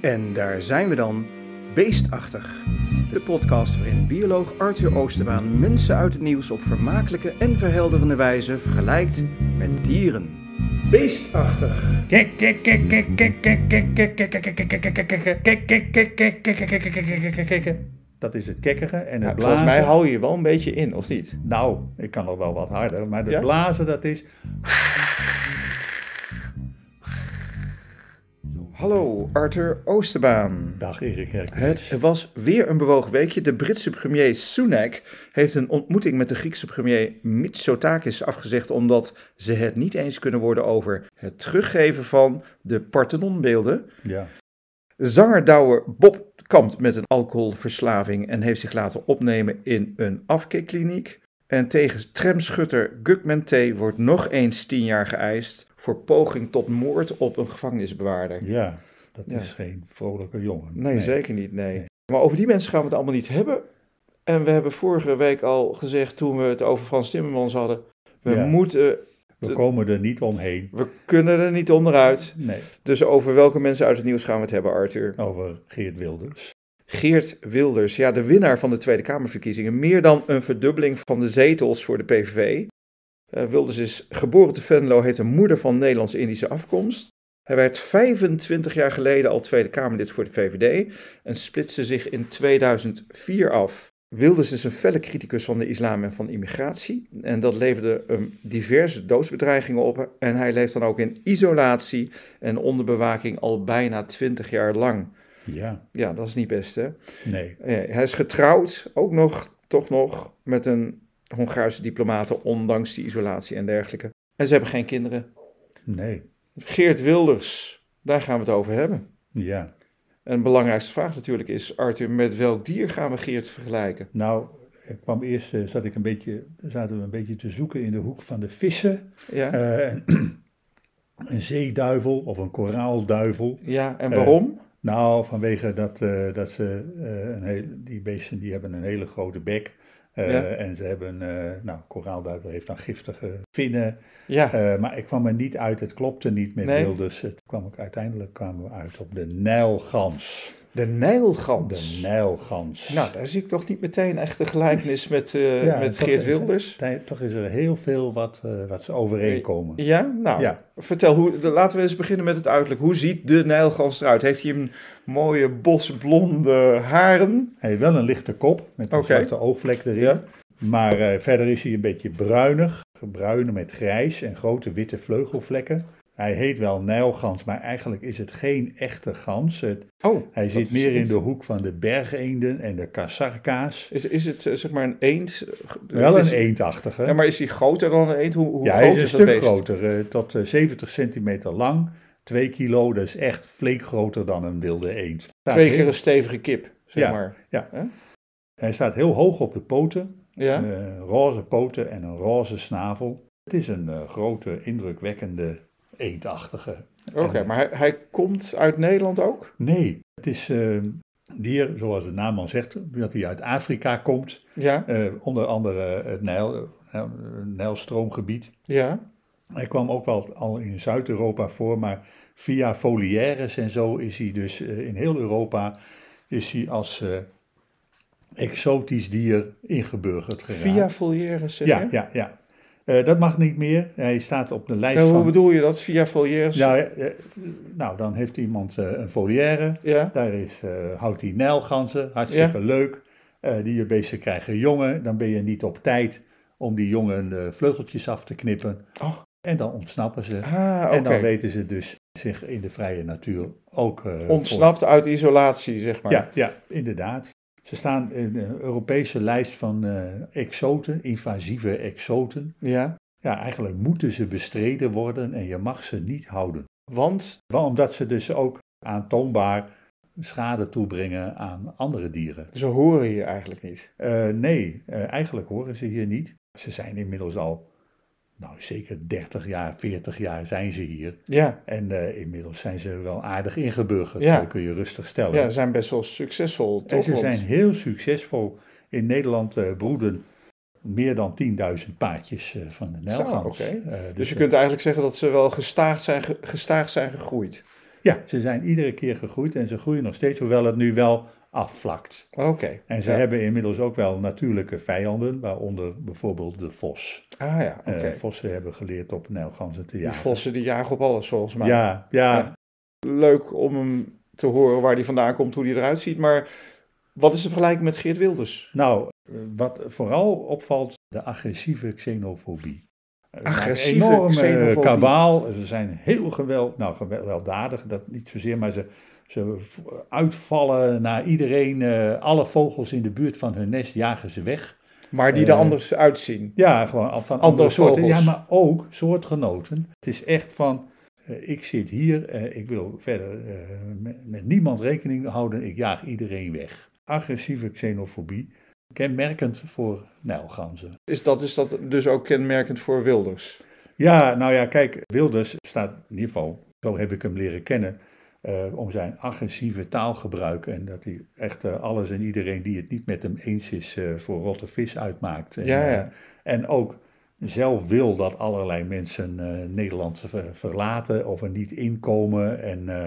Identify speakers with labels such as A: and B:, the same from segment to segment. A: En daar zijn we dan, Beestachtig. De podcast waarin bioloog Arthur Oosterbaan mensen uit het nieuws op vermakelijke en verhelderende wijze vergelijkt met dieren. Beestachtig.
B: Kijk, kijk, kijk, kijk, kijk, kijk, kijk, kijk, kijk, kijk, kijk, kijk, kijk, kijk, kijk, kijk, kijk, kijk, kijk, kijk, kijk, kijk, kijk, kijk, kijk. Dat is het kekkeren en
C: Ja,
B: het blazen.
C: volgens mij hou je je wel een beetje in, of niet?
B: Nou, ik kan nog wel wat harder, maar het
C: Ja?
B: blazen dat is...
A: Hallo, Arthur Oosterbaan.
B: Dag Erik Herk.
A: Het was weer een bewogen weekje. De Britse premier Sunak heeft een ontmoeting met de Griekse premier Mitsotakis afgezegd omdat ze het niet eens kunnen worden over het teruggeven van de Parthenonbeelden.
B: Ja.
A: Zangerdouwer Bob kampt met een alcoholverslaving en heeft zich laten opnemen in een afkikkliniek. En tegen tramschutter Gugman T. wordt nog eens 10 jaar geëist voor poging tot moord op een gevangenisbewaarder.
B: Ja, dat
A: Ja.
B: is geen vrolijke jongen.
A: Nee, zeker niet, nee.
B: Nee.
A: Maar over die mensen gaan we het allemaal niet hebben. En we hebben vorige week al gezegd, toen we het over Frans Timmermans hadden, we
B: Ja.
A: moeten,
B: We komen er niet omheen.
A: we kunnen er niet onderuit.
B: Nee,
A: Dus over welke mensen uit het nieuws gaan we het hebben, Arthur?
B: over Geert Wilders.
A: Geert Wilders, ja, de winnaar van de Tweede Kamerverkiezingen. Meer dan een verdubbeling van de zetels voor de PVV. Eh, Wilders is geboren te Venlo, heeft een moeder van Nederlands-Indische afkomst. Hij werd 25 jaar geleden al Tweede Kamerlid voor de VVD en splitste zich in 2004 af. Wilders is een felle criticus van de islam en van immigratie. En dat leverde hem diverse doodsbedreigingen op. En hij leeft dan ook in isolatie en onder bewaking al bijna 20 jaar lang.
B: Ja,
A: Ja, dat is niet best, hè?
B: nee.
A: Ja, hij is getrouwd, ook nog, toch nog, met een Hongaarse diplomaat, ondanks die isolatie en dergelijke. En ze hebben geen kinderen.
B: Nee.
A: Geert Wilders, daar gaan we het over hebben.
B: Ja.
A: En de belangrijkste vraag natuurlijk is, Arthur, met welk dier gaan we Geert vergelijken?
B: Nou, ik kwam eerst, eh, zat ik een beetje, zaten we een beetje te zoeken in de hoek van de vissen.
A: Ja,
B: Eh, een- een zeeduivel of een koraalduivel.
A: ja en
B: eh,
A: waarom?
B: Nou, vanwege dat, eh, dat ze, eh, een heel, die beesten die hebben een hele grote bek. eh,
A: Ja.
B: En ze hebben, eh nou, koraalduivel heeft dan giftige vinnen.
A: ja,
B: Eh, maar ik kwam er niet uit, het klopte niet met
A: Nee.
B: Wilders. Het kwam ook, uiteindelijk kwamen we uit op de Nijlgans.
A: de Nijlgans.
B: De Nijlgans.
A: Nou, daar zie ik toch niet meteen echt de gelijkenis met, eh,
B: Ja,
A: met
B: toch
A: Geert
B: is-
A: Wilders.
B: Tij- Toch is er heel veel wat, eh, wat ze overeenkomen.
A: Ja, nou,
B: Ja.
A: vertel, hoe, de- laten we eens beginnen met het uiterlijk. Hoe ziet de Nijlgans eruit? Heeft hij een mooie bosblonde haren?
B: Hij heeft wel een lichte kop met een
A: Oké.
B: zwarte oogvlek erin.
A: Ja.
B: Maar eh, verder is hij een beetje bruinig. Bruin met grijs en grote witte vleugelvlekken. Hij heet wel Nijlgans, maar eigenlijk is het geen echte gans. Het-
A: Oh,
B: hij
A: dat
B: zit
A: is
B: meer in
A: goed.
B: de hoek van de bergeenden en de kassarka's.
A: Is, is het eh, zeg maar een eend?
B: Wel
A: Is-
B: een eendachtige.
A: Ja, maar is die groter dan een eend? Hoe, hoe
B: Ja, hij
A: groot
B: is een
A: dat
B: stuk
A: beest?
B: groter, eh, tot eh, 70 centimeter lang. 2 kilo, dat is echt flink groter dan een wilde eend.
A: Twee
B: Staat
A: keer
B: heel-
A: een stevige kip, zeg
B: Ja.
A: maar.
B: Hij staat heel hoog op de poten.
A: Ja?
B: Eh, roze poten en een roze snavel. Het is een eh, grote, indrukwekkende eendachtige.
A: Oké, maar hij, hij komt uit Nederland ook?
B: Nee, het is eh, een dier, zoals de naam al zegt, dat hij uit Afrika komt.
A: Ja,
B: Eh, onder andere het Nijl, eh, Nijlstroomgebied.
A: ja.
B: Hij kwam ook wel al in Zuid-Europa voor, maar via foliaires en zo is hij dus eh, in heel Europa is hij als eh, exotisch dier ingeburgerd geraakt.
A: Via volière zeg
B: Ja,
A: je?
B: ja, ja. Eh, dat mag niet meer. Hij staat op de lijst
A: Ja, Eh, hoe
B: van...
A: bedoel je dat? Via volière?
B: Nou, eh, eh, nou, dan heeft iemand eh, een volière.
A: ja.
B: Daar is, eh, houdt hij nijlganzen. Hartstikke leuk. Eh, die beesten krijgen jongen. Dan ben je niet op tijd om die jongen eh, vleugeltjes af te knippen.
A: Oh.
B: En dan ontsnappen ze.
A: Ah,
B: En
A: oké.
B: dan weten ze dus zich in de vrije natuur ook... eh,
A: Ontsnapt uit isolatie, zeg maar.
B: voor- Ja, ja, inderdaad. Ze staan in een Europese lijst van eh, exoten, invasieve exoten.
A: Ja,
B: Ja, eigenlijk moeten ze bestreden worden en je mag ze niet houden.
A: Want,
B: Wel omdat ze dus ook aantoonbaar schade toebrengen aan andere dieren.
A: ze horen je eigenlijk niet.
B: Eh, nee, eh, eigenlijk horen ze hier niet. Ze zijn inmiddels al, nou zeker 30 jaar, 40 jaar zijn ze hier.
A: Ja,
B: En eh, inmiddels zijn ze wel aardig ingeburgerd,
A: Ja.
B: dat kun je rustig stellen.
A: ja ze zijn best wel succesvol, toch?
B: en ze
A: Want-
B: zijn heel succesvol. In Nederland eh, broeden meer dan 10.000 paardjes eh, van de Nijlgans.
A: oké.
B: Eh,
A: Dus je
B: eh,
A: kunt eigenlijk zeggen dat ze wel gestaag zijn, ge- gestaag zijn gegroeid.
B: Ja, ze zijn iedere keer gegroeid en ze groeien nog steeds, hoewel het nu wel afvlakt.
A: Oké.
B: En ze
A: Ja.
B: hebben inmiddels ook wel natuurlijke vijanden, waaronder bijvoorbeeld de vos.
A: Ah ja, oké.
B: Eh, vossen hebben geleerd op Nijlganzen te
A: Die
B: jagen.
A: vossen die jagen op alles volgens mij.
B: ja, ja,
A: Ja. Leuk om hem te horen waar hij vandaan komt, hoe hij eruit ziet. Maar wat is de vergelijking met Geert Wilders?
B: Nou, eh, wat vooral opvalt, de agressieve xenofobie. Eh, we maken
A: Agressieve
B: enorme
A: xenofobie.
B: kabaal. Ze zijn heel geweld, nou, gewelddadig, dat niet zozeer, maar ze, ze v- uitvallen naar iedereen. eh, alle vogels in de buurt van hun nest jagen ze weg.
A: Maar die er
B: Eh,
A: anders uitzien.
B: Ja, gewoon al- van andere,
A: Andere
B: soorten.
A: vogels.
B: Ja, maar ook soortgenoten. Het is echt van, eh, ik zit hier, eh, ik wil verder eh, met, met niemand rekening houden, ik jaag iedereen weg. Agressieve xenofobie, kenmerkend voor nijlganzen.
A: Is dat, is dat dus ook kenmerkend voor Wilders?
B: Ja, nou ja, kijk, Wilders staat in ieder geval, zo heb ik hem leren kennen, eh, om zijn agressieve taalgebruik en dat hij echt eh, alles en iedereen die het niet met hem eens is eh, voor rotte vis uitmaakt. En,
A: Ja, ja.
B: eh, en ook zelf wil dat allerlei mensen eh, Nederland ver- verlaten of er niet inkomen. En eh,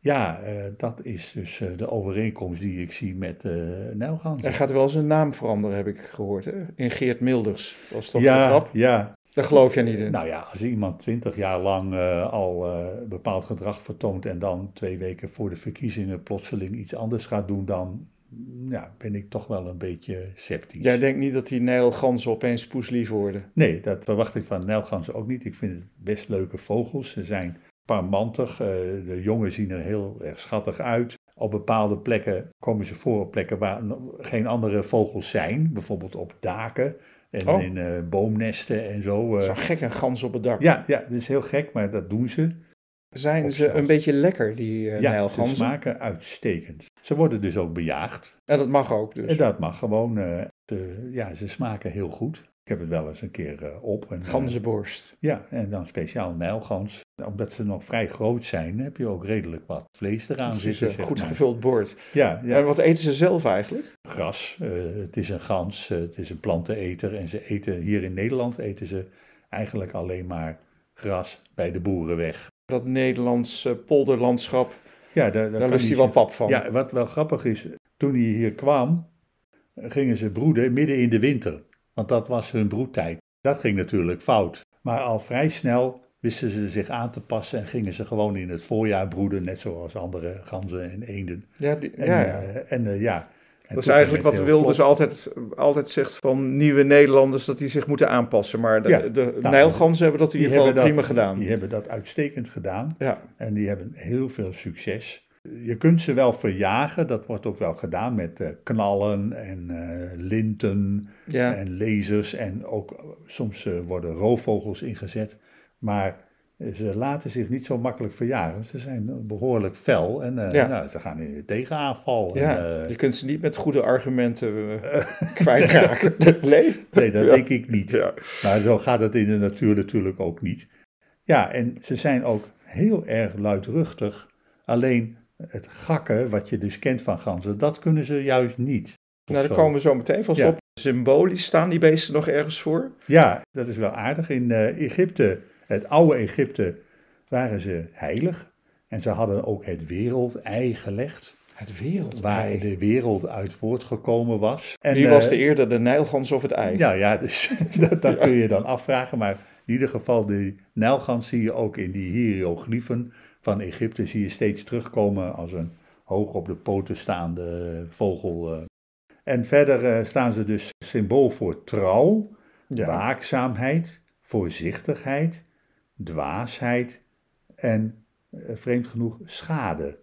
B: ja, eh, dat is dus eh, de overeenkomst die ik zie met eh Nijlganzen.
A: Hij gaat wel eens een naam veranderen, heb ik gehoord. Hè? In Geert Milders was toch de
B: ja,
A: grap?
B: ja,
A: Daar geloof jij niet in.
B: Nou ja, als iemand twintig jaar lang eh, al eh, bepaald gedrag vertoont en dan twee weken voor de verkiezingen plotseling iets anders gaat doen, dan mm, ja, ben ik toch wel een beetje sceptisch.
A: Jij denkt niet dat die Nijl Ganzen opeens poeslief worden.
B: Nee, dat verwacht ik van nijlganzen ook niet. Ik vind het best leuke vogels. Ze zijn parmantig. eh, de jongen zien er heel erg schattig uit. Op bepaalde plekken komen ze voor op plekken waar no- geen andere vogels zijn. Bijvoorbeeld op daken en
A: Oh.
B: in eh, boomnesten en zo. eh.
A: Zo'n gekke gans op het dak.
B: ja, ja, dat is heel gek, maar dat doen ze.
A: Zijn ze
B: opstelt.
A: een beetje lekker, die eh
B: Ja, ze
A: Nijlganzen?
B: smaken uitstekend. Ze worden dus ook bejaagd.
A: En dat mag ook
B: En
A: dus.
B: dat mag gewoon. eh, ze- ja, ze smaken heel goed. Ik heb het wel eens een keer eh, op. En, eh,
A: Ganzenborst.
B: ja, en dan speciaal nijlgans. Omdat ze nog vrij groot zijn, heb je ook redelijk wat vlees eraan
A: Het is
B: zitten.
A: een
B: zeg
A: eh, goed
B: maar.
A: gevuld bord.
B: Ja, ja,
A: En wat eten ze zelf eigenlijk?
B: gras. eh, het is een gans. eh, het is een planteneter. En ze eten hier in Nederland eten ze eigenlijk alleen maar gras bij de boeren weg.
A: Dat Nederlands eh, polderlandschap,
B: Ja, daar, daar
A: daar
B: kan
A: lust
B: niet
A: hij wel
B: zo-
A: pap van.
B: Ja, wat wel grappig is, toen hij hier kwam, gingen ze broeden midden in de winter. Want dat was hun broedtijd. Dat ging natuurlijk fout. Maar al vrij snel wisten ze zich aan te passen en gingen ze gewoon in het voorjaar broeden, net zoals andere ganzen en eenden.
A: Ja, die-
B: En,
A: ja, ja.
B: eh, en, eh, ja. En
A: Dat is
B: toen
A: eigenlijk
B: ging
A: wat
B: het heel
A: Wilders
B: vlot.
A: altijd, altijd zegt van nieuwe Nederlanders, dat die zich moeten aanpassen. Maar de,
B: Ja,
A: de
B: nou,
A: Nijlganzen hebben dat in ieder geval
B: hebben dat-
A: prima gedaan.
B: Die hebben dat uitstekend gedaan.
A: Ja.
B: En die hebben heel veel succes. Je kunt ze wel verjagen, dat wordt ook wel gedaan met eh, knallen en eh, linten
A: Ja.
B: en lasers. En ook eh, soms eh, worden roofvogels ingezet. Maar eh, ze laten zich niet zo makkelijk verjagen. Ze zijn eh, behoorlijk fel en eh,
A: Ja.
B: nou, ze gaan in de tegenaanval. En,
A: Ja,
B: eh,
A: je kunt ze niet met goede argumenten eh, kwijtraken. Nee?
B: nee, dat
A: Ja.
B: denk ik niet.
A: Ja.
B: Maar zo gaat het in de natuur natuurlijk ook niet. Ja, en ze zijn ook heel erg luidruchtig. Alleen het gakken, wat je dus kent van ganzen, dat kunnen ze juist niet.
A: Nou,
B: Of
A: daar
B: zo.
A: komen we zo meteen vast
B: Ja.
A: op. Symbolisch staan die beesten nog ergens voor?
B: Ja, dat is wel aardig. In eh, Egypte, het oude Egypte, waren ze heilig. En ze hadden ook het wereldei gelegd,
A: Het wereld.
B: waar de wereld uit voortgekomen was. En,
A: Wie was
B: eh,
A: de eerder, de Nijlgans of het ei?
B: Ja, ja, dus dat, dat kun je dan afvragen. Maar in ieder geval, de Nijlgans zie je ook in die hieroglyphen van Egypte, zie je steeds terugkomen als een hoog op de poten staande eh, vogel. eh. En verder eh, staan ze dus symbool voor trouw,
A: Ja.
B: waakzaamheid, voorzichtigheid, dwaasheid en, eh, vreemd genoeg, schade.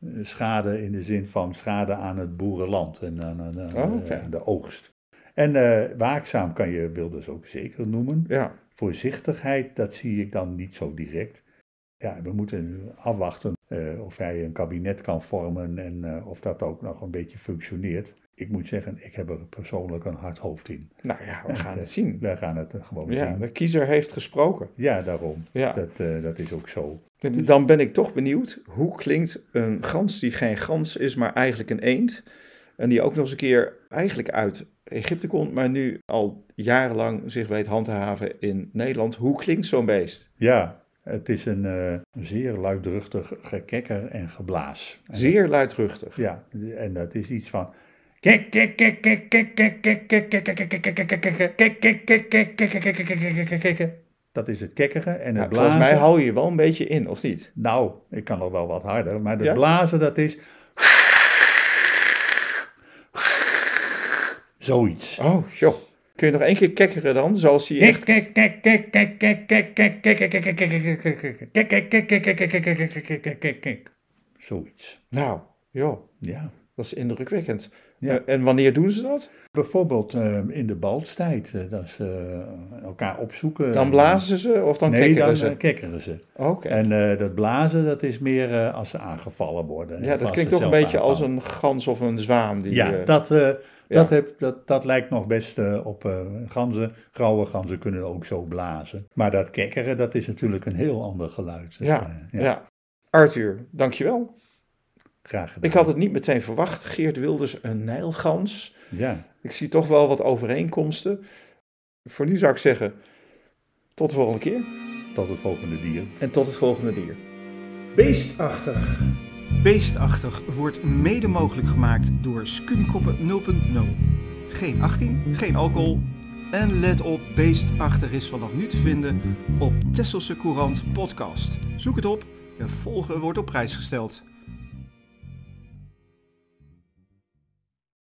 B: Eh, Schade in de zin van schade aan het boerenland en aan, aan- aan- eh,
A: Oh, oké.
B: aan de oogst. En eh, waakzaam kan je Wilders ook zeker noemen.
A: Ja.
B: Voorzichtigheid, dat zie ik dan niet zo direct. Ja, we moeten afwachten eh, of hij een kabinet kan vormen en eh, of dat ook nog een beetje functioneert. Ik moet zeggen, ik heb er persoonlijk een hard hoofd in.
A: Nou ja, we gaan
B: eh,
A: het zien.
B: Wij gaan het eh, gewoon
A: Ja,
B: zien.
A: de kiezer heeft gesproken.
B: Ja, daarom.
A: Ja.
B: Dat, eh, dat is ook zo.
A: Dan ben ik toch benieuwd, hoe klinkt een gans die geen gans is, maar eigenlijk een eend? En die ook nog eens een keer eigenlijk uit Egypte komt, maar nu al jarenlang zich weet handhaven in Nederland. Hoe klinkt zo'n beest?
B: Ja, Het is een eh, zeer luidruchtig gekekker en geblaas. En-
A: Zeer luidruchtig.
B: Ja, en dat is iets van. Dat is het kekkeren en
A: Ja,
B: het
A: volgens mij
B: blazen.
A: hou je je wel een beetje in, of niet?
B: Nou, ik kan nog wel wat harder, maar
A: Ja?
B: het blazen dat is. Zoiets.
A: Oh, joh. Kun je nog één keer kekkeren dan, zoals hij echt...
B: Zoiets.
A: Nou, joh,
B: Ja.
A: dat is indrukwekkend.
B: Ja.
A: Eh, en wanneer doen ze dat?
B: Bijvoorbeeld eh, in de balstijd, eh, dat ze eh, elkaar opzoeken.
A: Dan blazen ze of dan
B: Eh, nee,
A: kekkeren
B: dan,
A: ze? Oh,
B: eh, kekkeren ze.
A: Oké.
B: En eh, dat blazen, dat is meer eh, als ze aangevallen worden.
A: Ja,
B: Of
A: dat
B: als
A: klinkt
B: ze
A: toch een
B: zelf
A: beetje als een
B: aanvallen.
A: gans of een zwaan. Die,
B: Ja,
A: eh,
B: dat, eh,
A: ja.
B: Dat, heb, dat, dat lijkt nog best eh, op eh, ganzen. Grauwe ganzen kunnen ook zo blazen. Maar dat kekkeren, dat is natuurlijk een heel ander geluid. Dus,
A: Ja,
B: eh,
A: ja. Arthur, dankjewel.
B: Graag gedaan.
A: Ik had het niet meteen verwacht. Geert Wilders, een nijlgans.
B: Ja,
A: Ik zie toch wel wat overeenkomsten. Voor nu zou ik zeggen, tot de volgende keer.
B: tot het volgende dier.
A: En tot het volgende dier.
D: Beestachtig. Beestachtig wordt mede mogelijk gemaakt door Skumkoppen 0.0. Geen 18, geen alcohol. En let op, Beestachtig is vanaf nu te vinden op Tesselse Courant Podcast. Zoek het op en volgen wordt op prijs gesteld.